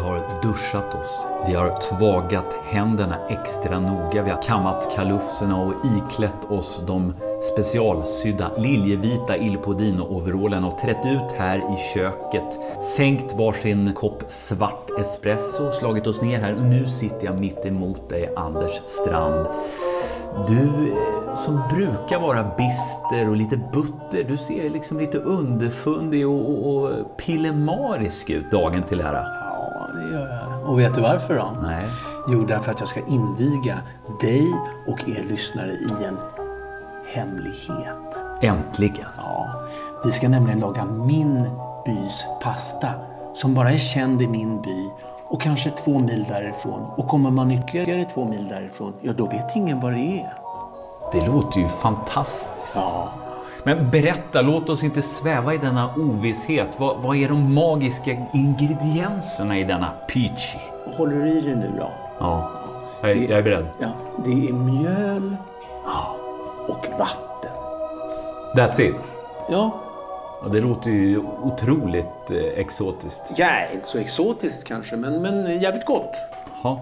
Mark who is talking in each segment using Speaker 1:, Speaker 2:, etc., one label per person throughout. Speaker 1: har duschat oss. Vi har tvagat händerna extra noga. Vi har kammat kalufserna och iklätt oss de specialsydda liljevita Ilpodino-overallen och trätt ut här i köket, sänkt varsin kopp svart espresso, slagit oss ner här och nu sitter jag mitt emot dig Anders Strand. Du eh, som brukar vara bister och lite butter, du ser liksom lite underfundig och, och, och pillemarisk ut dagen till ära.
Speaker 2: Ja, det gör jag. Och vet du varför då?
Speaker 1: Nej.
Speaker 2: Jo, därför att jag ska inviga dig och er lyssnare i en hemlighet.
Speaker 1: Äntligen.
Speaker 2: Ja, vi ska nämligen laga min bys pasta som bara är känd i min by och kanske två mil därifrån. Och kommer man ytterligare två mil därifrån, ja då vet ingen vad det är.
Speaker 1: Det låter ju fantastiskt.
Speaker 2: Ja,
Speaker 1: Men berätta, låt oss inte sväva i denna ovisshet. Vad, vad är de magiska ingredienserna i denna peachy?
Speaker 2: håller du i det nu då?
Speaker 1: Ja, jag, är- jag är beredd.
Speaker 2: Ja, det är mjöl och vatten.
Speaker 1: That's it.
Speaker 2: Ja,
Speaker 1: Ja, det låter ju otroligt eh, exotiskt.
Speaker 2: ja inte så exotiskt kanske, men, men jävligt gott.
Speaker 1: Ja.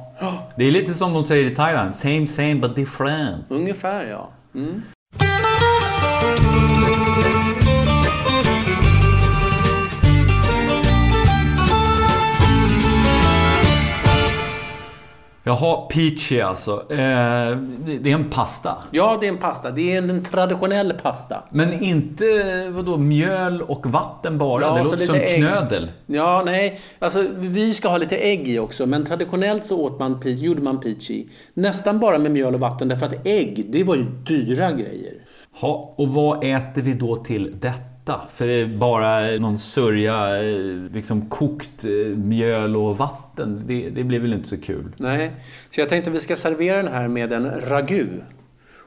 Speaker 1: Det är lite som de säger i Thailand, same same but different.
Speaker 2: Ungefär ja.
Speaker 1: Jaha, peachy alltså. Eh, det det är en pasta.
Speaker 2: Ja, det är en pasta. Det är en, en traditionell pasta.
Speaker 1: Men inte vadå, mjöl och vatten bara?
Speaker 2: Ja,
Speaker 1: det
Speaker 2: så
Speaker 1: låter
Speaker 2: lite
Speaker 1: som
Speaker 2: ägg.
Speaker 1: knödel.
Speaker 2: Ja, nej. Alltså, vi ska ha lite ägg i också, men traditionellt så åt man, pi- gjorde man peachy. Nästan bara med mjöl och vatten, därför att ägg, det var ju dyra grejer.
Speaker 1: Ja, och vad äter vi då till detta? För det är bara någon sörja, eh, liksom kokt eh, mjöl och vatten. Det, det blir väl inte så kul?
Speaker 2: Nej, så jag tänkte vi ska servera den här med en ragu.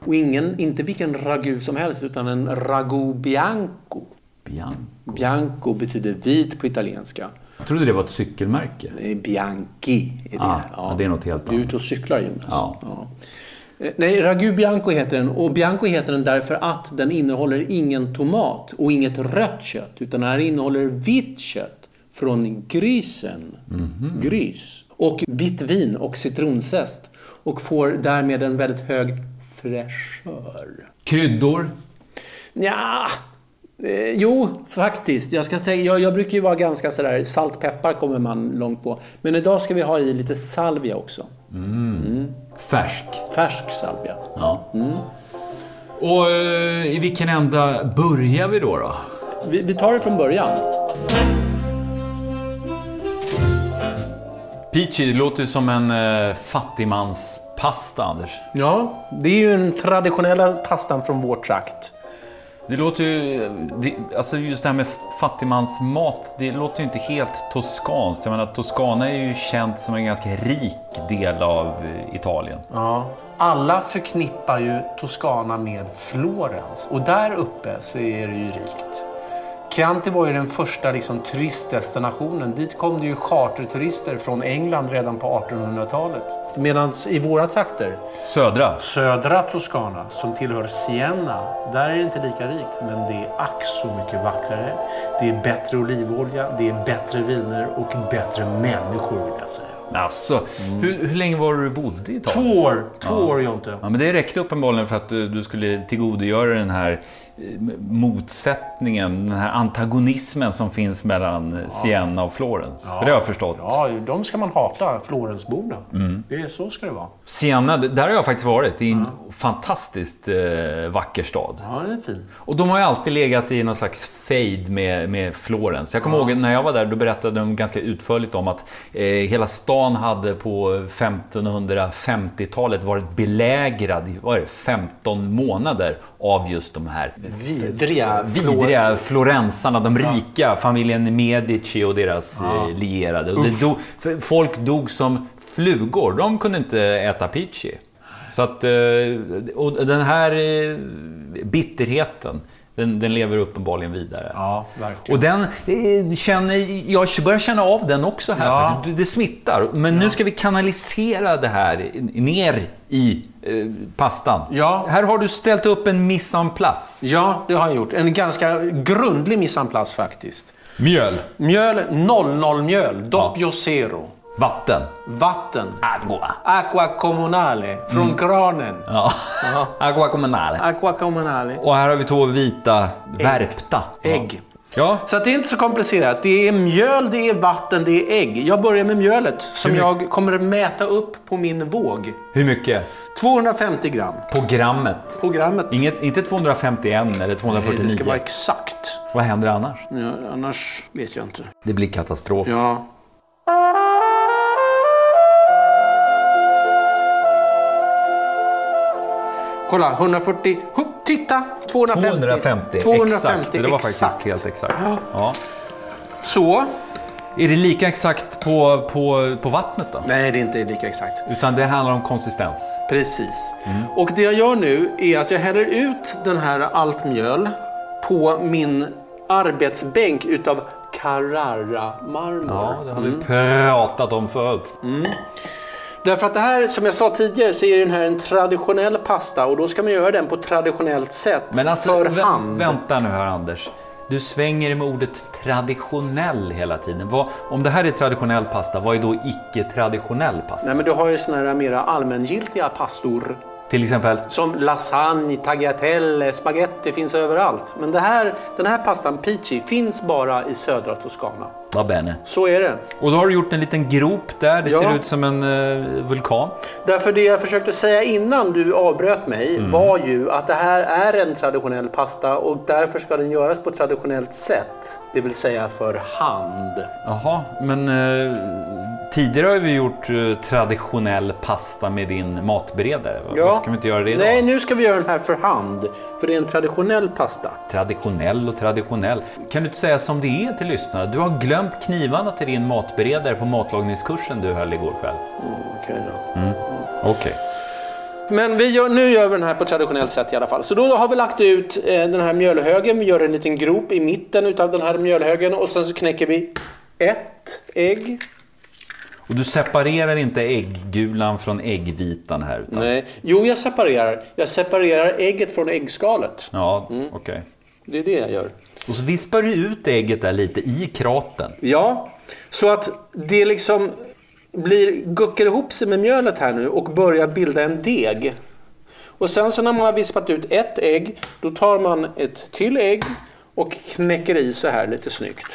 Speaker 2: Och ingen, inte vilken ragu som helst, utan en ragu bianco.
Speaker 1: Bian.
Speaker 2: Bianco betyder vit på italienska.
Speaker 1: Jag trodde det var ett cykelmärke.
Speaker 2: Eh, Bianchi är det.
Speaker 1: Ah, ja, det är något helt
Speaker 2: Du är
Speaker 1: annat.
Speaker 2: ute och cyklar Jonas.
Speaker 1: Ja.
Speaker 2: Eh, Nej, Ragu Bianco heter den och Bianco heter den därför att den innehåller ingen tomat och inget rött kött utan den här innehåller vitt kött från grisen.
Speaker 1: Mhm.
Speaker 2: Gris. Och vitt vin och citronzest och får därmed en väldigt hög fräschör.
Speaker 1: Kryddor.
Speaker 2: Ja. Eh, jo, faktiskt. Jag, ska strä- jag, jag brukar ju vara ganska sådär, saltpeppar kommer man långt på. Men idag ska vi ha i lite salvia också.
Speaker 1: Färsk.
Speaker 2: Färsk salvia.
Speaker 1: Ja. Mm. Och eh, i vilken ända börjar vi då? då?
Speaker 2: Vi, vi tar det från början.
Speaker 1: Peachy, det låter ju som en eh, fattigmanspasta, Anders.
Speaker 2: Ja, det är ju den traditionella pastan från vår trakt.
Speaker 1: Det låter ju... Det, alltså just det här med fattigmansmat, det låter ju inte helt toskanskt. Jag menar, Toscana är ju känt som en ganska rik del av eh, Italien.
Speaker 2: Ja. Alla förknippar ju Toscana med Florens och där uppe så är det ju rikt. Chianti var ju den första liksom, turistdestinationen. Dit kom det ju charterturister från England redan på 1800-talet. Medan i våra trakter,
Speaker 1: Södra.
Speaker 2: södra Toscana som tillhör Siena, där är det inte lika rikt. Men det är ack så mycket vackrare. Det är bättre olivolja, det är bättre viner och bättre människor vill jag säga.
Speaker 1: Alltså, hur, hur länge var det du bodde i Italien?
Speaker 2: Mm. Två år! Två år Jonte.
Speaker 1: Ja, men det räckte uppenbarligen för att du, du skulle tillgodogöra den här eh, motsättningen, den här antagonismen som finns mellan eh, Siena och Florens. För det har jag förstått.
Speaker 2: Ja, de ska man hata, Florensborna. Det är så ska det vara.
Speaker 1: Siena, d- där har jag faktiskt varit. Det är en fantastiskt eh, vacker stad.
Speaker 2: Ja, det är fint.
Speaker 1: Och de har ju alltid legat i någon slags fade med, med Florens. Jag kommer ihåg när jag var där, då berättade de ganska utförligt om att eh, hela stan hade på 1550-talet varit belägrad i vad är det, 15 månader av just de här
Speaker 2: Vidriga,
Speaker 1: vidriga florensarna, de rika, familjen Medici och deras eh, lierade. Och det dog, f- folk dog som flugor, de kunde inte äta peachy. Så att, eh, och den här eh, bitterheten, den, den lever uppenbarligen vidare.
Speaker 2: Ja, verkligen.
Speaker 1: Och den eh, känner, jag börjar känna av den också här.
Speaker 2: Ja.
Speaker 1: faktiskt. Det, det smittar. Men nu ska vi kanalisera det här ner i eh, pastan.
Speaker 2: Ja.
Speaker 1: Här har du ställt upp en mise en place.
Speaker 2: Ja, det har jag gjort. En ganska grundlig mise en place faktiskt.
Speaker 1: Mjöl.
Speaker 2: Mjöl, 00-mjöl, doppio zero.
Speaker 1: Vatten.
Speaker 2: Vatten.
Speaker 1: Agua.
Speaker 2: Aqua communale. Från kranen.
Speaker 1: Ja. Agua comunale.
Speaker 2: Aqua communale.
Speaker 1: Och här har vi två vita värpta.
Speaker 2: Ägg.
Speaker 1: Ja.
Speaker 2: Så att det är inte så komplicerat. Det är mjöl, det är vatten, det är ägg. Jag börjar med mjölet som
Speaker 1: Hur
Speaker 2: jag kommer att mäta upp på min våg.
Speaker 1: Hur mycket?
Speaker 2: 250 gram.
Speaker 1: På grammet.
Speaker 2: Programmet.
Speaker 1: Inget, inte 251 eller 249.
Speaker 2: Nej, det ska vara exakt.
Speaker 1: Vad händer annars?
Speaker 2: Ja, annars vet jag inte.
Speaker 1: Det blir katastrof.
Speaker 2: Ja. Kolla, 140. Hup, titta!
Speaker 1: 250.
Speaker 2: 250. 250
Speaker 1: Exakt. Det var
Speaker 2: exakt.
Speaker 1: faktiskt helt exakt. Ja.
Speaker 2: Så.
Speaker 1: Är det lika exakt på, på, på vattnet då?
Speaker 2: Nej, det är inte lika exakt.
Speaker 1: Utan det handlar om konsistens.
Speaker 2: Precis.
Speaker 1: Mm.
Speaker 2: Och det jag gör nu är att jag häller ut den här allt mjöl på min arbetsbänk utav Carrara-marmor.
Speaker 1: Ja, det har vi Mm. pratat om förut.
Speaker 2: Därför att det här, som jag sa tidigare, så är den här en traditionell pasta och då ska man göra den på traditionellt sätt.
Speaker 1: Men alltså,
Speaker 2: för
Speaker 1: vä-
Speaker 2: hand.
Speaker 1: vänta nu här Anders. Du svänger med ordet traditionell hela tiden. Vad, om det här är traditionell pasta, vad är då icke-traditionell pasta?
Speaker 2: Nej, men du har ju såna här mera allmängiltiga pastor.
Speaker 1: Till exempel?
Speaker 2: Som lasagne, tagliatelle, spaghetti finns överallt. Men det här, den här pastan, peachy, finns bara i södra Toscana.
Speaker 1: Va bene.
Speaker 2: Så är det.
Speaker 1: Och då har du gjort en liten grop där. Det
Speaker 2: Ja.
Speaker 1: ser ut som en eh, vulkan.
Speaker 2: Därför det jag försökte säga innan du avbröt mig
Speaker 1: Mm.
Speaker 2: var ju att det här är en traditionell pasta och därför ska den göras på ett traditionellt sätt. Det vill säga för hand.
Speaker 1: Jaha, men eh, tidigare har vi gjort eh, traditionell pasta med din matberedare. va? Varför kan vi inte göra det idag?
Speaker 2: Nej, nu ska vi göra den här för hand. För det är en traditionell pasta.
Speaker 1: Traditionell och traditionell. Kan du inte säga som det är till lyssnarna? Du har glömt knivarna till din matberedare på matlagningskursen du höll igår kväll. Okej.
Speaker 2: Men vi gör, nu gör vi den här på traditionellt sätt i alla fall. Så då har vi lagt ut eh, den här mjölhögen. Vi gör en liten grop i mitten utav den här mjölhögen och sen så knäcker vi ett ägg.
Speaker 1: Och du separerar inte ägggulan från äggvitan här? Utan...
Speaker 2: Nej. Jo, jag separerar. Jag separerar ägget från äggskalet.
Speaker 1: Ja, okej.
Speaker 2: Det är det jag gör.
Speaker 1: Och så vispar du ut ägget där lite i kraten.
Speaker 2: Ja, så att det liksom blir, guckar ihop sig med mjölet här nu och börjar bilda en deg. Och sen så när man har vispat ut ett ägg, då tar man ett till ägg och knäcker i så här lite snyggt.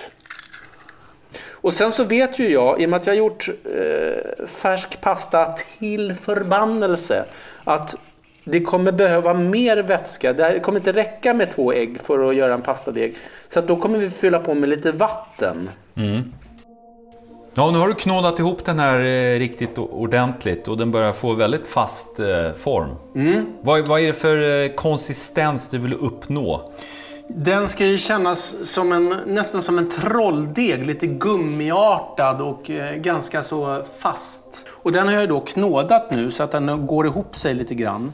Speaker 2: Och sen så vet ju jag, i och med att jag har gjort eh, färsk pasta till förbannelse, att det kommer behöva mer vätska. Det här kommer inte räcka med två ägg för att göra en pastadeg. Så att då kommer vi fylla på med lite vatten.
Speaker 1: Ja, nu har du knådat ihop den här eh, riktigt o- ordentligt och den börjar få väldigt fast eh, form. Vad, vad är det för eh, konsistens du vill uppnå?
Speaker 2: Den ska ju kännas som en, nästan som en trolldeg, lite gummiartad och eh, ganska så fast. Och den har jag då knådat nu så att den går ihop sig lite grann.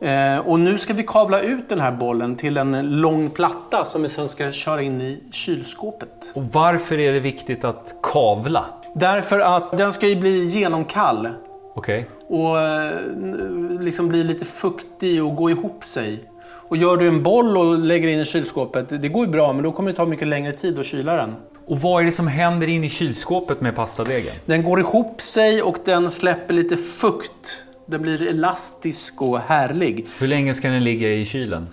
Speaker 2: Eh, och nu ska vi kavla ut den här bollen till en lång platta som vi sen ska köra in i kylskåpet.
Speaker 1: Och varför är det viktigt att kavla?
Speaker 2: Därför att den ska ju bli genomkall
Speaker 1: Okej.
Speaker 2: och eh, n- liksom bli lite fuktig och gå ihop sig. Och gör du en boll och lägger in i kylskåpet, det går ju bra men då kommer det ta mycket längre tid att kyla den.
Speaker 1: Och vad är det som händer in i kylskåpet med pastadegen?
Speaker 2: Den går ihop sig och den släpper lite fukt. Den blir elastisk och härlig.
Speaker 1: Hur länge ska den ligga i kylen?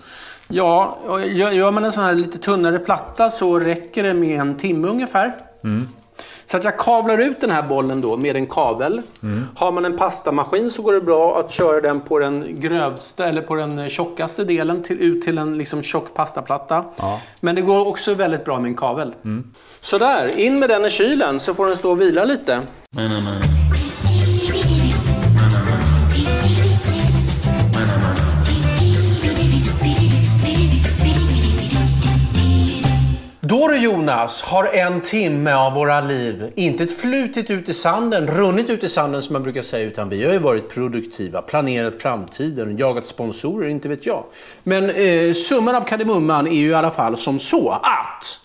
Speaker 2: Ja, och gör gör man en sån här lite tunnare platta så räcker det med en timme ungefär. Så att jag kavlar ut den här bollen då med en kavel. Har man en pastamaskin så går det bra att köra den på den grövsta eller på den tjockaste delen till, ut till en liksom tjock pastaplatta.
Speaker 1: Ja.
Speaker 2: Men det går också väldigt bra med en kavel. Sådär, in med den i kylen så får den stå och vila lite. Då du Jonas har en timme av våra liv inte flutit ut i sanden, runnit ut i sanden som man brukar säga, utan vi har ju varit produktiva, planerat framtiden, jagat sponsorer, inte vet jag. Men eh, summan av kardemumman är ju i alla fall som så att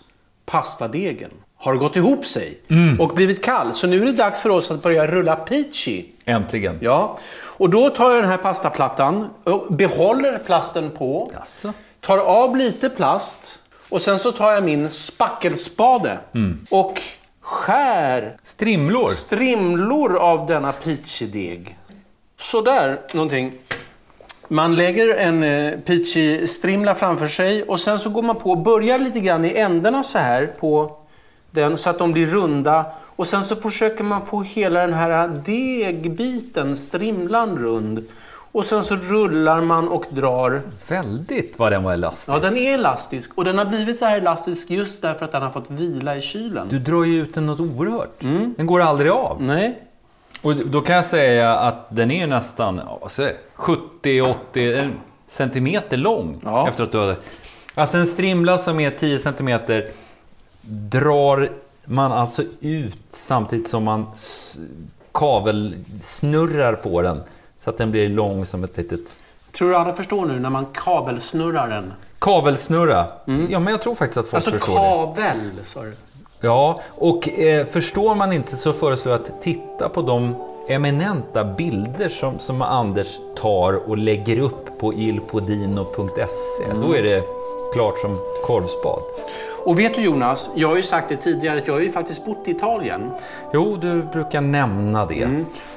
Speaker 2: pastadegen har gått ihop sig och blivit kall. Så nu är det dags för oss att börja rulla peachy.
Speaker 1: Äntligen.
Speaker 2: Ja, och då tar jag den här pastaplattan, och behåller plasten på.
Speaker 1: Jaså?
Speaker 2: Tar av lite plast och sen så tar jag min spackelspade och Skär
Speaker 1: Strimlor!
Speaker 2: strimlor av denna pizzideg. Sådär, någonting. Man lägger en eh, pizzistrimla framför sig och sen så går man på och börjar lite grann i ändarna så här på den så att de blir runda. Och sen så försöker man få hela den här degbiten, strimlan, rund. Och sen så rullar man och drar.
Speaker 1: Väldigt vad den var elastisk.
Speaker 2: Ja, den är elastisk. Och den har blivit så här elastisk just därför att den har fått vila i kylen.
Speaker 1: Du drar ju ut den något oerhört. Den går aldrig av.
Speaker 2: Nej,
Speaker 1: Och då kan jag säga att den är ju nästan ja, vad säger jag, 70-80 en centimeter lång.
Speaker 2: Ja.
Speaker 1: Efter att du hade... Alltså en strimla som är 10 centimeter drar man alltså ut samtidigt som man s- kavelsnurrar på den. Så att den blir lång som ett litet...
Speaker 2: Tror du alla förstår nu när man kabelsnurrar den?
Speaker 1: Kavelsnurra. Ja, men jag tror faktiskt att folk
Speaker 2: Mm. Alltså
Speaker 1: förstår det.
Speaker 2: kabel, sa du.
Speaker 1: Ja, och eh, förstår man inte så föreslår jag att titta på de eminenta bilder som, som Anders tar och lägger upp på ilpodino.se.
Speaker 2: Mm.
Speaker 1: Då är det klart som korvspad.
Speaker 2: Och vet du Jonas, jag har ju sagt det tidigare att jag har ju faktiskt bott i Italien.
Speaker 1: Jo, du brukar nämna det.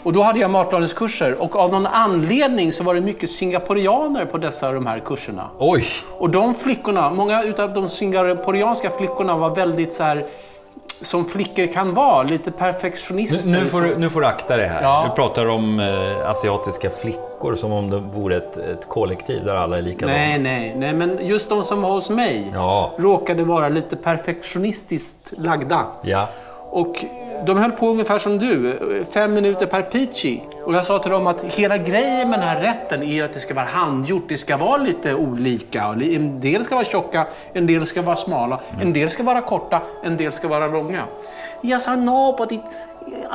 Speaker 2: Och då hade jag matlagningskurser och av någon anledning så var det mycket singaporianer på dessa de här kurserna.
Speaker 1: Oj!
Speaker 2: Och de flickorna, många utav de singaporianska flickorna var väldigt så här som flickor kan vara, lite
Speaker 1: Nu,
Speaker 2: perfektionister.
Speaker 1: nu, får du,
Speaker 2: Så-
Speaker 1: nu får du akta dig här.
Speaker 2: Ja.
Speaker 1: Du pratar om eh, asiatiska flickor som om det vore ett, ett kollektiv där alla är likadana.
Speaker 2: Nej, nej, nej, men just de som var hos mig
Speaker 1: Ja.
Speaker 2: råkade vara lite perfektionistiskt lagda.
Speaker 1: Ja.
Speaker 2: Och de höll på ungefär som du, fem minuter per pici. Och jag sa till dem att hela grejen med den här rätten är att det ska vara handgjort. Det ska vara lite olika. Och En del ska vara tjocka, en del ska vara smala, en del ska vara korta, en del ska vara långa. Yes, I know, but it,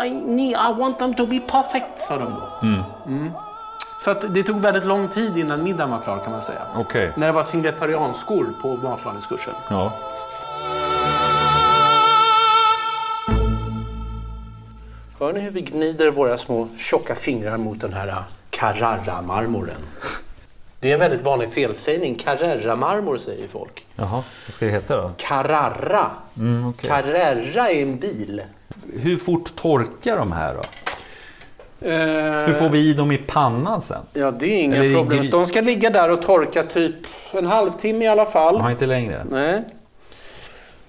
Speaker 2: I, need, I want them to be perfect, sa de då. Mm. Så att det tog väldigt lång tid innan middagen var klar kan man säga.
Speaker 1: Okej.
Speaker 2: När det var singaporianskor på matlagningskursen.
Speaker 1: Ja.
Speaker 2: Hör ni hur vi gnider våra små tjocka fingrar mot den här äh, Carrara-marmoren? Det är en väldigt vanlig felsägning. Carrara-marmor säger folk.
Speaker 1: Jaha, vad ska det heta då?
Speaker 2: Carrara.
Speaker 1: Mm, okej.
Speaker 2: Carrara är en bil.
Speaker 1: Hur fort torkar de här då?
Speaker 2: Eh.
Speaker 1: Hur får vi i dem i pannan sen?
Speaker 2: Ja, det är inga
Speaker 1: Eller i
Speaker 2: problem.
Speaker 1: gry-
Speaker 2: De ska ligga där och torka typ en halvtimme i alla fall.
Speaker 1: Har inte längre?
Speaker 2: Nej.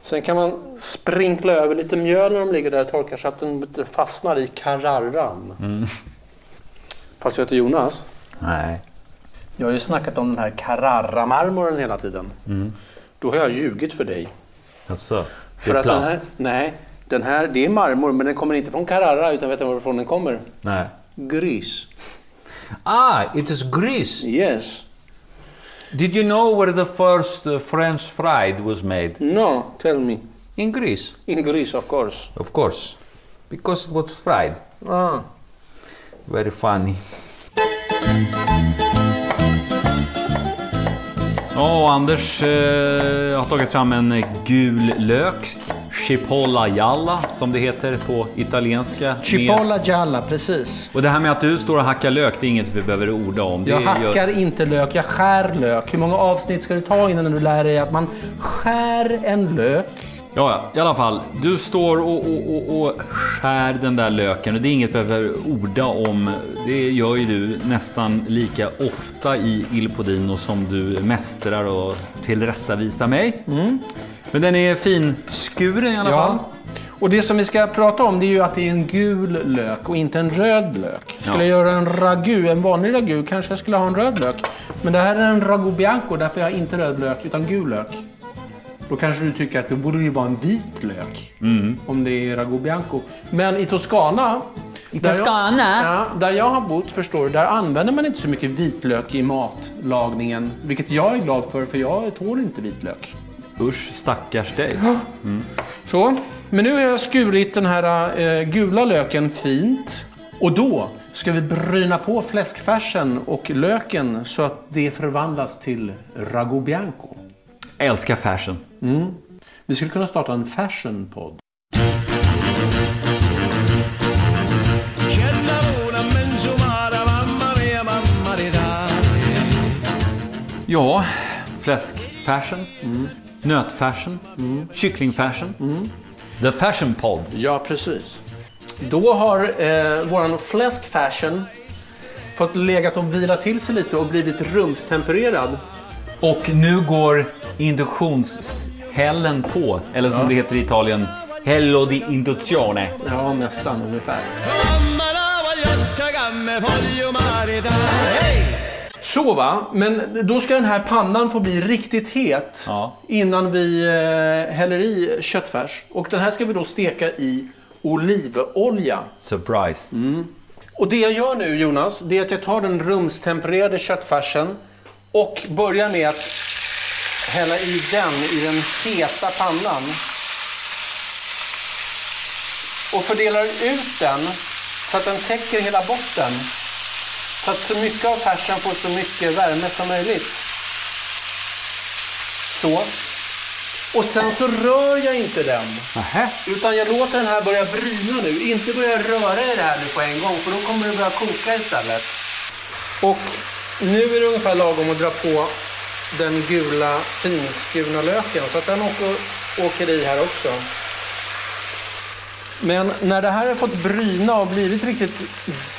Speaker 2: Sen kan man sprinkla över lite mjöl när de ligger där och torkar så att den inte fastnar i carrarran.
Speaker 1: Mm.
Speaker 2: Fast vet du Jonas?
Speaker 1: Nej.
Speaker 2: Jag har ju snackat om den här Carrara-marmoren hela tiden. Då har jag ljugit för dig.
Speaker 1: Alltså, det
Speaker 2: för
Speaker 1: Mm. är plast?
Speaker 2: Den här, nej, den här, det är marmor, men den kommer inte från Carrara, utan vet du varifrån den kommer?
Speaker 1: Nej.
Speaker 2: Gris.
Speaker 1: Ah, it is Greece.
Speaker 2: Yes.
Speaker 1: Did you know where the first uh, French fried was made?
Speaker 2: No, tell me.
Speaker 1: In Greece,
Speaker 2: In Greece, of course.
Speaker 1: of course. Because it was fried.
Speaker 2: Ah.
Speaker 1: Very funny. Ja, Anders eh, har tagit fram en gul lök. Chipolla jalla, som det heter på italienska. Med-
Speaker 2: Chipola gialla, precis.
Speaker 1: Och det här med att du står och hackar lök, det är inget vi behöver orda om. Det
Speaker 2: Jag
Speaker 1: gör-
Speaker 2: hackar inte lök, jag skär lök. Hur många avsnitt ska du ta innan du lär dig att man skär en lök?
Speaker 1: Ja, ja, i alla fall. Du står och, och, och, och skär den där löken och det är inget vi behöver orda om. Det gör ju du nästan lika ofta i Il Podino som du mästrar och tillrättavisar mig. Men den är finskuren i alla fall.
Speaker 2: Och det som vi ska prata om det är ju att det är en gul lök och inte en röd lök.
Speaker 1: Ja.
Speaker 2: Skulle jag göra en ragu, en vanlig ragu, kanske jag skulle ha en röd lök. Men det här är en ragu bianco, därför jag har inte röd lök utan gul lök. Då kanske du tycker att det borde ju vara en vit lök. Om det är ragu bianco. Men i Toscana... I
Speaker 1: Toscana?
Speaker 2: Där jag, ja, där jag har bott, förstår du, där använder man inte så mycket vitlök i matlagningen. Vilket jag är glad för, för jag tål inte vitlök.
Speaker 1: Usch, stackars dig.
Speaker 2: Så. Men nu har jag skurit den här eh, gula löken fint. Och då ska vi bryna på fläskfärsen och löken så att det förvandlas till ragu bianco.
Speaker 1: Älskar fashion.
Speaker 2: Vi skulle kunna starta en fashionpodd.
Speaker 1: Ja, fläskfashion, nötfashion, kycklingfashion. The Fashion Pod.
Speaker 3: Ja, precis. Då har eh, våran fläsk fashion fått legat och vila till sig lite och blivit rumstempererad.
Speaker 1: Och nu går induktionshällen på, eller som det heter i Italien, Hello di induzione.
Speaker 3: Ja, nästan ungefär. Så va, men då ska den här pannan få bli riktigt het
Speaker 1: Ja.
Speaker 3: innan vi eh, häller i köttfärs. Och den här ska vi då steka i olivolja.
Speaker 1: Surprise.
Speaker 3: Och det jag gör nu Jonas, det är att jag tar den rumstempererade köttfärsen och börjar med att hälla i den i den heta pannan. Och fördelar ut den så att den täcker hela botten. Så att så mycket av färsen får så mycket värme som möjligt. Så. Och sen så rör jag inte den.
Speaker 1: Nähä.
Speaker 3: Utan jag låter den här börja bryna nu. Inte börja röra i det här nu på en gång, för då kommer det börja koka istället. Och nu är det ungefär lagom att dra på den gula finskurna löken, så att den åker, åker i här också. Men när det här har fått bryna och blivit riktigt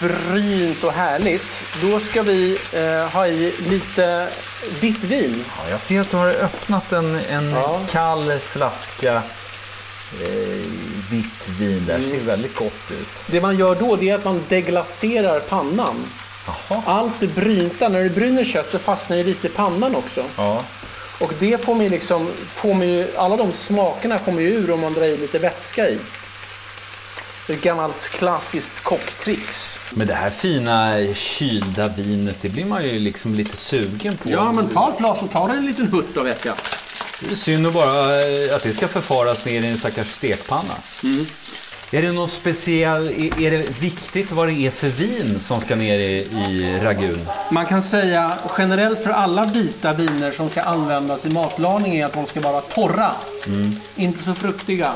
Speaker 3: brynt och härligt, då ska vi eh, ha i lite vitt vin.
Speaker 1: Ja, jag ser att du har öppnat en, en
Speaker 3: Ja.
Speaker 1: kall flaska eh, vitt vin där. Det ser väldigt gott ut.
Speaker 3: Det man gör då det är att man deglacerar pannan.
Speaker 1: Jaha.
Speaker 3: Allt det brynta, när det bryner kött så fastnar ju lite i pannan också.
Speaker 1: Ja.
Speaker 3: Och det får man ju liksom, får man ju, alla de smakerna kommer ju ur om man drar i lite vätska i. Ett gammalt klassiskt kocktricks.
Speaker 1: Men det här fina kylda vinet, det blir man ju liksom lite sugen på.
Speaker 3: ta ett glas och ta dig en liten hutt av vätska.
Speaker 1: Det är synd att, bara, eh, att det ska förfaras ner i en stackars stekpanna. Är det något speciellt, är, är det viktigt vad det är för vin som ska ner i, i ragun?
Speaker 3: Man kan säga generellt för alla vita viner som ska användas i matlagning är att de ska vara torra. Mm. Inte så fruktiga.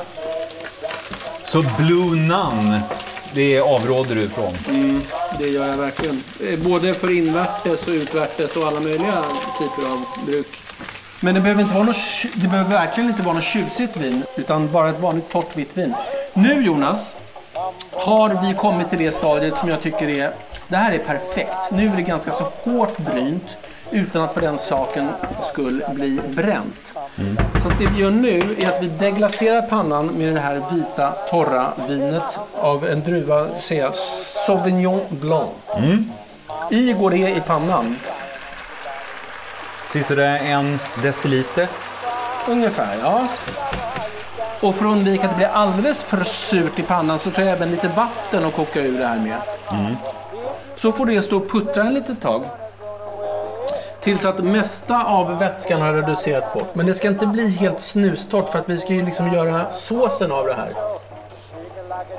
Speaker 1: Så Blue Nun, det avråder du ifrån.
Speaker 3: Mm, Det gör jag verkligen. Eh, Både för invärtes och utvärtes och alla möjliga typer av bruk. Men det behöver, inte vara något, tju- det behöver verkligen inte vara något tjusigt vin, utan bara ett vanligt torrt vitt vin. Nu Jonas, har vi kommit till det stadiet som jag tycker är, det här är perfekt. Nu är det ganska så hårt brynt utan att för den saken skulle bli bränt. Så att det vi gör nu är att vi deglacerar pannan med det här vita torra vinet av en druva, säger jag, Sauvignon Blanc. I går det i pannan,
Speaker 1: Sist är det en deciliter.
Speaker 3: ungefär ja. Och för att undvika att det blir alldeles för surt i pannan så tar jag även lite vatten och kokar ur det här med. Så får det stå och puttra en litet tag. Tills att mesta av vätskan har reducerat bort. Men det ska inte bli helt snustort för att vi ska ju liksom göra såsen av det här.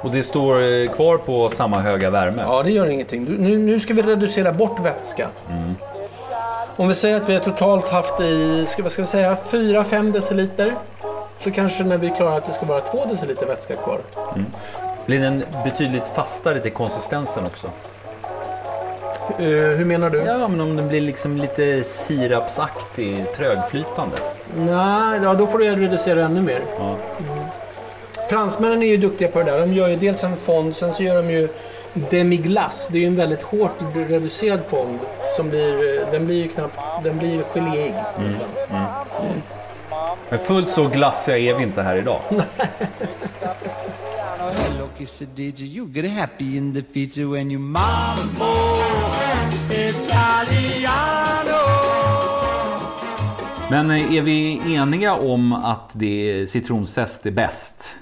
Speaker 1: Och det står eh, kvar på samma höga värme.
Speaker 3: Ja, det gör ingenting. Du- Nu, nu ska vi reducera bort vätska. Om vi säger att vi har totalt haft i, ska, vad ska vi säga, 4-5 deciliter. Så kanske när vi klarar att det ska vara 2 deciliter vätska kvar.
Speaker 1: Blir den betydligt fastare till konsistensen också?
Speaker 3: Eh, hur menar du?
Speaker 1: Ja, men om den blir liksom lite sirapsaktig, trögflytande.
Speaker 3: Nej, ja, då får du reducera ännu mer.
Speaker 1: Ja.
Speaker 3: Fransmännen är ju duktiga på det där. De gör ju dels en fond, sen så gör de ju demiglass. Det är ju en väldigt hårt reducerad fond. Som blir, eh, den blir ju knappt, den blir ju geléig nästan.
Speaker 1: Men fullt så glassiga är vi inte här idag.
Speaker 4: Oh, hello, Kissy DJ, you get happy in the future when you mambo Italiano.
Speaker 1: Men eh, är vi eniga om att det citronzest är bäst?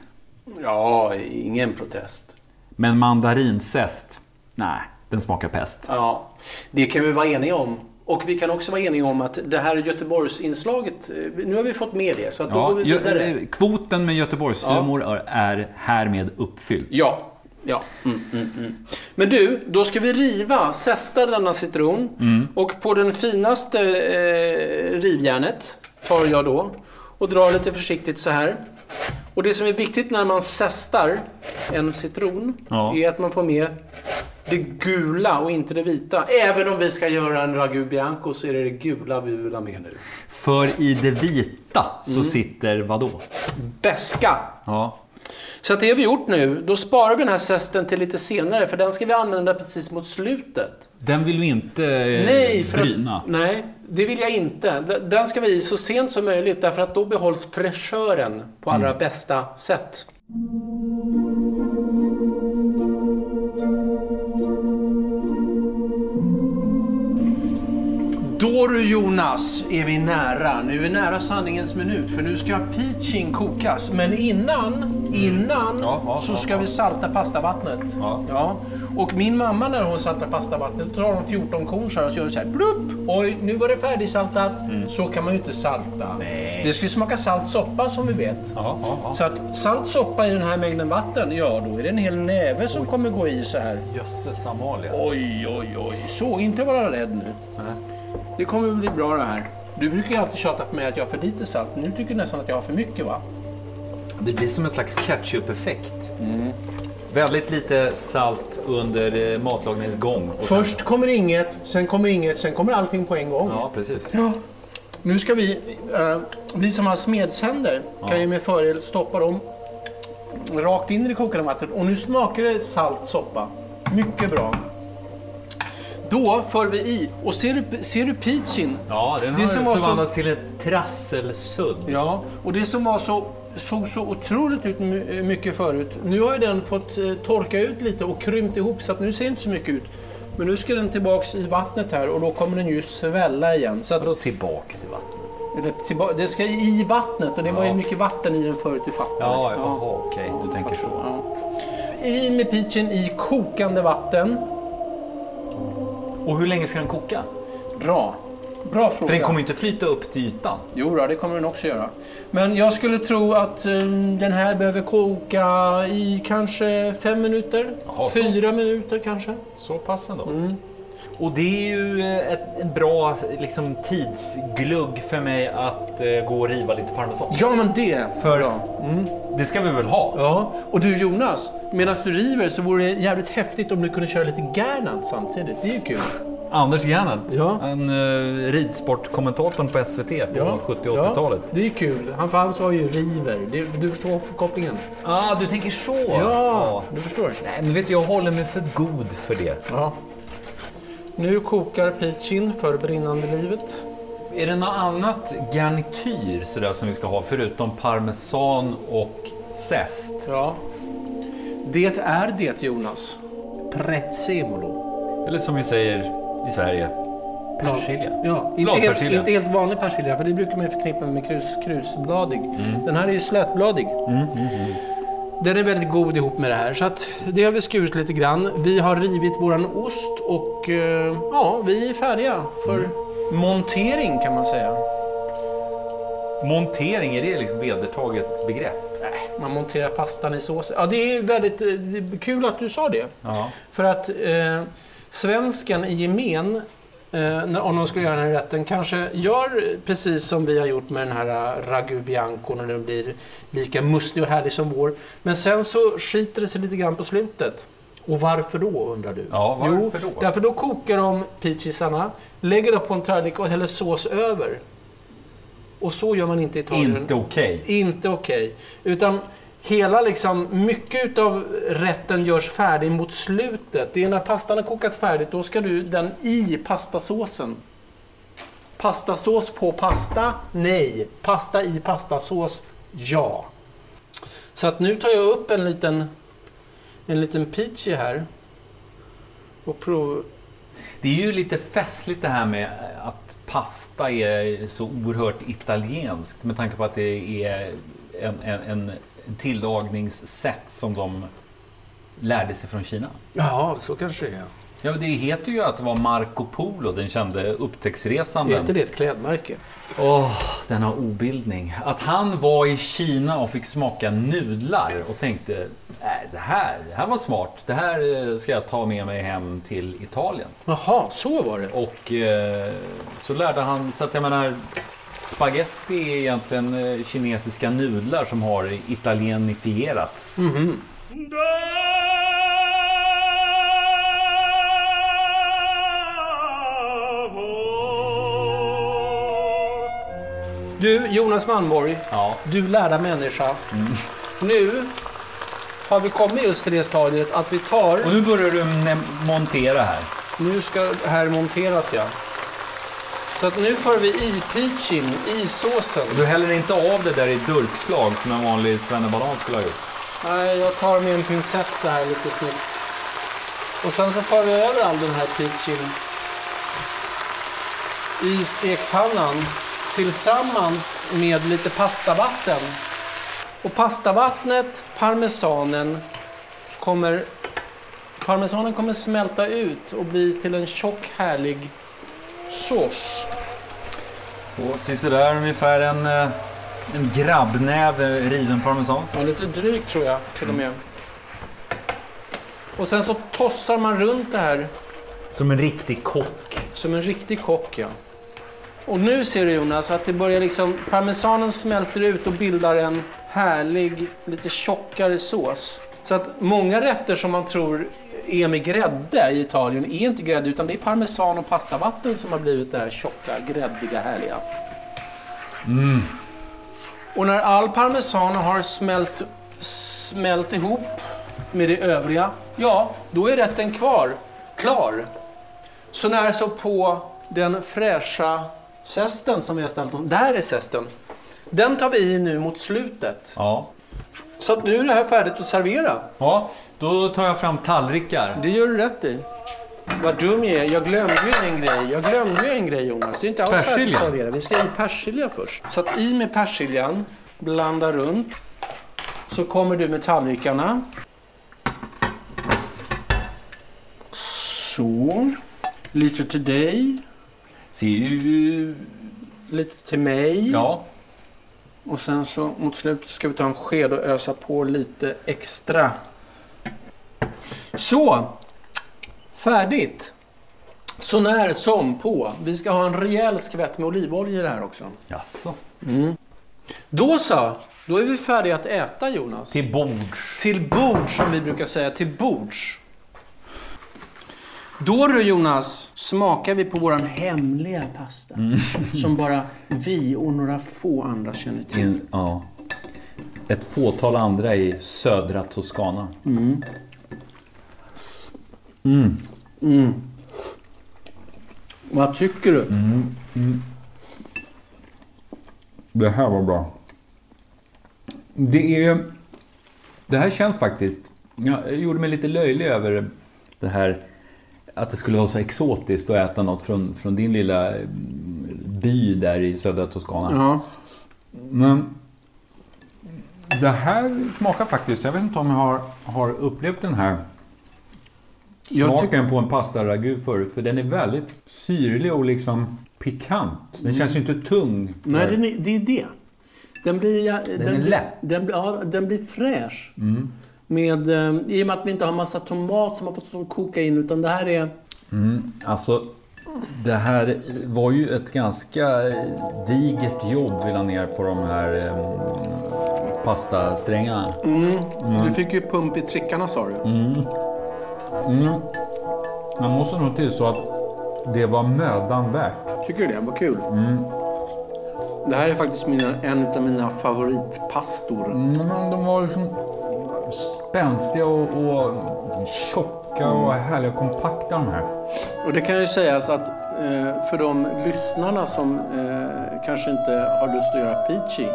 Speaker 3: Ja, ingen protest.
Speaker 1: Men mandarinzest? Nej, den smakar pest.
Speaker 3: Ja, det kan vi vara eniga om. Och vi kan också vara eniga om att det här Göteborgsinslaget, eh, nu har vi fått med det, så att då
Speaker 1: Ja,
Speaker 3: går vi
Speaker 1: gö-
Speaker 3: vidare.
Speaker 1: eh, kvoten med Göteborgshumor är- är härmed uppfylld.
Speaker 3: Ja. Ja. Mm, mm, mm. Men du, då ska vi riva, zesta denna citron. Och på den finaste eh, rivjärnet tar jag då och drar lite försiktigt så här. Och det som är viktigt när man zestar en citron
Speaker 1: Ja.
Speaker 3: är att man får med det gula och inte det vita. Även om vi ska göra en ragu bianco så är det det gula vi vill ha med nu.
Speaker 1: För i det vita så sitter vadå?
Speaker 3: Beska
Speaker 1: Ja.
Speaker 5: Så att det har vi gjort nu. Då sparar vi den här zesten till lite senare, för den ska vi använda precis mot slutet.
Speaker 6: Den vill vi inte eh,
Speaker 5: Nej, för
Speaker 6: bryna.
Speaker 5: att, nej, det vill jag inte. D- Den ska vi i så sent som möjligt, därför att då behålls fräschören på allra
Speaker 1: Mm.
Speaker 5: bästa sätt.
Speaker 3: Då du Jonas, är vi nära. Nu är nära sanningens minut för nu ska peachin kokas. Men innan, innan
Speaker 1: Mm. Ja, ja,
Speaker 3: så
Speaker 1: ja,
Speaker 3: ska
Speaker 1: ja.
Speaker 3: vi salta pastavattnet.
Speaker 1: Ja.
Speaker 3: Och min mamma när hon saltar pastavattnet så tar hon 14 korn så här och så gör det så här plupp. Oj, nu var det färdigsaltat.
Speaker 1: Mm.
Speaker 3: Så kan man ju inte salta. Det ska ju smaka salt soppa som vi vet.
Speaker 1: Ja, ja, ja.
Speaker 3: Så att salt soppa i den här mängden vatten, ja då är det en hel näve som kommer gå i så här.
Speaker 1: Jösses Amalia.
Speaker 3: Oj, oj, oj. Så, inte vara rädd nu. Det kommer bli bra det här. Du brukar ju alltid tjata på mig att jag har för lite salt. Nu tycker du nästan att jag har för mycket va?
Speaker 1: Det blir som en slags ketchup-effekt. Väldigt lite salt under eh, matlagningens gång. Och sen-
Speaker 7: Först kommer inget, sen kommer inget, sen kommer allting på en gång.
Speaker 1: Ja, precis.
Speaker 3: Nu ska vi, eh, vi som har smedshänder kan ju med fördel stoppa dem rakt in i det kokande vattnet. Och nu smakar det salt soppa. Mycket bra. Då för vi i, och ser du, ser du peachin?
Speaker 1: Ja, den
Speaker 3: Det
Speaker 1: har
Speaker 3: som var så-
Speaker 1: förvandlats till en trasselsudd.
Speaker 3: Ja, och det som var så, såg så otroligt ut my- mycket förut. Nu har ju den fått eh, torka ut lite och krympt ihop så att nu ser det inte så mycket ut. Men nu ska den tillbaks i vattnet här och då kommer den ju svälla igen. Så att,
Speaker 1: Då tillbaks i vattnet.
Speaker 3: eller tillba- det ska i vattnet och det var ju mycket vatten i den förut, du fattar.
Speaker 1: Ja, ja. Jaha, okej. Du tänker så.
Speaker 3: I med peachen i kokande vatten.
Speaker 1: Och hur länge ska den koka?
Speaker 3: Bra. Bra fråga.
Speaker 1: För den kommer ju inte flyta upp till ytan.
Speaker 3: Jo, då, det kommer den också göra. Men jag skulle tro att eh, den här behöver koka i kanske fem minuter.
Speaker 1: Jaha, så.
Speaker 3: fyra minuter kanske.
Speaker 1: Så pass ändå.
Speaker 3: Mm.
Speaker 1: Och det är ju eh, ett, en bra liksom, tidsglugg för mig att eh, gå och riva lite parmesan.
Speaker 3: Ja, men det.
Speaker 1: För mm,
Speaker 3: Bra.
Speaker 1: det ska vi väl ha?
Speaker 3: Ja, och du Jonas, medan du river så vore det jävligt häftigt om du kunde köra lite Gernandt samtidigt. Det är ju kul.
Speaker 1: Anders Gernandt,
Speaker 3: Ja.
Speaker 1: en eh, ridsportkommentatorn på SVT på 70 och 80-talet.
Speaker 3: Ja, det är ju kul. Han, för han sa ju river. Det, du förstår kopplingen?
Speaker 1: Ah, du tänker så?
Speaker 3: Ja,
Speaker 1: Ja.
Speaker 3: du förstår.
Speaker 1: Nej, men vet du, jag håller mig för god för det.
Speaker 3: Ja. Nu kokar peachin för brinnande livet.
Speaker 1: Är det något annat garnityr sådär, som vi ska ha förutom parmesan och zest?
Speaker 3: Ja. Det är det Jonas. Prezzemolo.
Speaker 1: Eller som vi säger i Sverige, persilja.
Speaker 3: Ja, inte helt,
Speaker 1: Bladpersilja.
Speaker 3: inte helt vanlig persilja, för det brukar man ju förknippa med krus, krusbladig.
Speaker 1: Mm.
Speaker 3: Den här är ju slätbladig. Den är väldigt god ihop med det här, så att det har vi skurit lite grann. Vi har rivit våran ost och eh, ja, vi är färdiga för
Speaker 1: Mm.
Speaker 3: montering kan man säga.
Speaker 1: Montering, är det liksom vedertaget begrepp?
Speaker 3: Man monterar pastan i såsen. Ja, det är väldigt eh, det är kul att du sa det.
Speaker 1: Ja.
Speaker 3: För att eh, svensken i gemen, eh, när- om de ska göra den här rätten, kanske gör precis som vi har gjort med den här eh, ragu bianco när den blir lika mustig och härlig som vår. Men sen så skiter det sig lite grann på slutet. Och varför då, undrar du?
Speaker 1: Ja, varför
Speaker 3: jo,
Speaker 1: då?
Speaker 3: Därför då kokar de peachisarna, lägger det på en tallrik och häller sås över. Och så gör man inte i Italien.
Speaker 1: Inte okej.
Speaker 3: Inte okej. Utan hela liksom, mycket utav rätten görs färdig mot slutet. Det är när pastan har kokat färdigt, då ska du den i pastasåsen. Pastasås på pasta? Nej. Pasta i pastasås? Ja. Så att nu tar jag upp en liten, en liten peachy här. Och prov...
Speaker 1: Det är ju lite festligt det här med att pasta är så oerhört italienskt med tanke på att det är en, en, en tillagningssätt som de lärde sig från Kina.
Speaker 3: Ja, så kanske det är.
Speaker 1: Ja, men det heter ju att det var Marco Polo, den kände
Speaker 3: Är inte
Speaker 1: upptäcktsresanden.
Speaker 3: det ett klädmärke?
Speaker 1: Åh, denna obildning. Att han var i Kina och fick smaka nudlar och tänkte "Nej, det här, det här var smart. Det här eh, ska jag ta med mig hem till Italien.
Speaker 3: Jaha, så var det.
Speaker 1: Och eh, så lärde han, så att jag menar, spaghetti är egentligen eh, kinesiska nudlar som har italienifierats.
Speaker 3: Du, Jonas Malmborg.
Speaker 1: Ja.
Speaker 3: Du lärda människa. Nu har vi kommit just till det stadiet att vi tar...
Speaker 8: Och nu börjar du ne- montera här.
Speaker 3: Nu ska det här monteras, ja. Så att nu får vi i peachin i såsen.
Speaker 8: Du häller inte av det där i durkslag som en vanlig svennebanan skulle ha gjort.
Speaker 3: Nej, jag tar med en pincett så här lite snyggt. Och sen så för vi över all den här peachin i stekpannan tillsammans med lite pastavatten. Och pastavattnet, parmesanen, kommer, parmesanen kommer smälta ut och bli till en tjock härlig sås.
Speaker 8: Och sist där ungefär en, eh, en grabbnäve riven parmesan.
Speaker 3: Ja, lite dryg tror jag till och med. Och sen så tossar man runt det här
Speaker 8: Som en riktig kock.
Speaker 3: Som en riktig kock, ja. Och nu ser du Jonas att det börjar liksom, parmesanen smälter ut och bildar en härlig, lite tjockare sås. Så att många rätter som man tror är med grädde i Italien är inte grädde utan det är parmesan och pastavatten som har blivit det här tjocka, gräddiga, härliga. Och när all parmesan har smält, smält ihop med det övriga, ja, då är rätten kvar. Klar. Så när så på den fräscha zesten som vi har ställt om. Där är zesten. Den tar vi i nu mot slutet.
Speaker 8: Ja.
Speaker 3: Så att nu är det här färdigt att servera.
Speaker 8: ja, då tar jag fram tallrikar.
Speaker 3: Det gör du rätt i. Vad dum jag är. Jag glömde ju en grej. Jag glömde ju en grej Jonas. Det är inte alls färdigt
Speaker 8: Persilja.
Speaker 3: att servera. Vi ska i persilja först. Så att i med persiljan. Blanda runt. Så kommer du med tallrikarna. Så. Lite till dig.
Speaker 8: Ser ju...
Speaker 3: Lite till mig.
Speaker 8: Ja.
Speaker 3: Och sen så mot slutet ska vi ta en sked och ösa på lite extra. Så! Färdigt! Så när som på. Vi ska ha en rejäl skvätt med olivolja i det här också.
Speaker 8: Jaså.
Speaker 3: Då så! Då är vi färdiga att äta Jonas.
Speaker 8: Till bords.
Speaker 3: Till bords som vi brukar säga. Till bords. Då du Jonas, smakar vi på våran hemliga pasta. Som bara vi och några få andra känner till.
Speaker 1: In, ja. Ett fåtal andra i södra Toscana.
Speaker 3: Vad tycker du?
Speaker 1: Det här var bra. Det är... Det här känns faktiskt... Jag gjorde mig lite löjlig över det här att det skulle vara så exotiskt att äta något från, från din lilla mm, by där i södra Toscana.
Speaker 3: Ja.
Speaker 1: Men det här smakar faktiskt, jag vet inte om jag har, har upplevt den här
Speaker 3: Jag
Speaker 1: smaken på en pasta ragu förut. För den är väldigt syrlig och liksom pikant. Den känns ju inte tung. för-
Speaker 2: Nej, den är, det är det. Den blir, ja, den
Speaker 1: är
Speaker 2: blir-
Speaker 1: lätt.
Speaker 2: Den, blir- ja, den blir fräsch. Med, eh, I och med att vi inte har massa tomat som har fått stå och koka in, utan det här är...
Speaker 1: Alltså, det här var ju ett ganska digert jobb vi la ner på de här eh, pastasträngarna.
Speaker 3: Mm. Du fick ju pump i trickarna sa du.
Speaker 1: Mm. Jag måste nog tillstå att det var mödan värt.
Speaker 2: Tycker du det? Vad kul.
Speaker 3: Det här är faktiskt mina, en av mina favoritpastor.
Speaker 1: Men de var liksom spänstiga och, och tjocka och härliga och kompakta de här.
Speaker 2: Och det kan ju sägas att eh, för de lyssnarna som eh, kanske inte har lust att göra peachy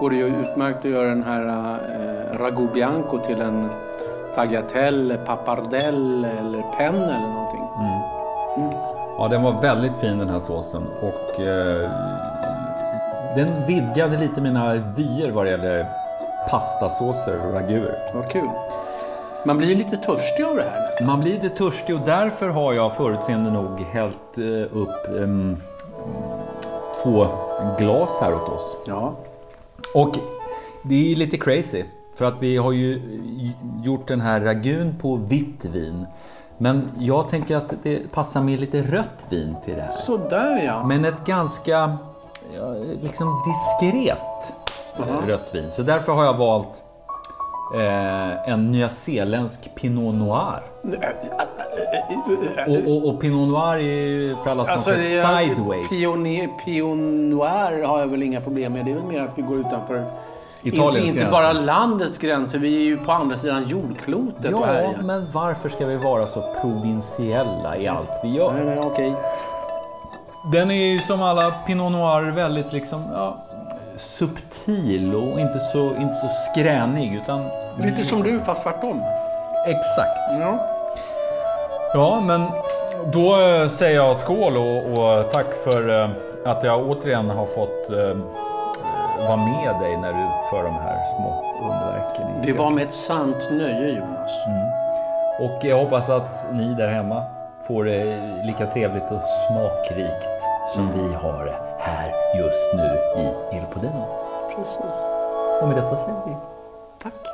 Speaker 2: går det ju utmärkt att göra den här eh, ragu bianco till en tagliatelle, pappardelle eller penne eller någonting.
Speaker 1: Ja, den var väldigt fin den här såsen och eh, den vidgade lite mina vyer vad det gäller pastasåser och raguer.
Speaker 2: Vad kul. Man blir ju lite törstig av det här nästan.
Speaker 1: Man blir lite törstig och därför har jag förutseende nog hällt eh, upp ehm, två glas här åt oss.
Speaker 2: Ja.
Speaker 1: Och det är ju lite crazy. För att vi har ju eh, gjort den här ragun på vitt vin. Men jag tänker att det passar med lite rött vin till det här.
Speaker 2: Sådär ja.
Speaker 1: Men ett ganska ja, liksom diskret rött vin. Så därför har jag valt eh, en nyzeeländsk Pinot Noir. Och, och, och Pinot Noir är ju för alla som
Speaker 2: Alltså,
Speaker 1: har sett Alltså, Sideways.
Speaker 2: Pion, pion noir har jag väl inga problem med. Det är väl mer att vi går utanför Inte,
Speaker 1: Italiens
Speaker 2: inte
Speaker 1: gränser.
Speaker 2: bara landets gränser, vi är ju på andra sidan jordklotet och
Speaker 1: Ja,
Speaker 2: härjar.
Speaker 1: men varför ska vi vara så provinsiella i allt vi gör?
Speaker 2: Nej, men okej.
Speaker 1: Den är ju som alla Pinot Noir väldigt liksom, ja, subtil och inte så, inte så skränig utan
Speaker 2: Lite som du, fast tvärtom.
Speaker 1: exakt.
Speaker 2: Ja.
Speaker 9: Ja, men då eh, säger jag skål och, och tack för eh, att jag återigen har fått eh, vara med dig när du utför de här små underverken. i
Speaker 2: Det
Speaker 9: kö-
Speaker 2: var med ett sant nöje, Jonas.
Speaker 1: Och jag hoppas att ni där hemma får det lika trevligt och smakrikt som
Speaker 2: Mm.
Speaker 1: vi har det här just nu i Il Podino. Precis. Och med detta säger vi
Speaker 2: Tack.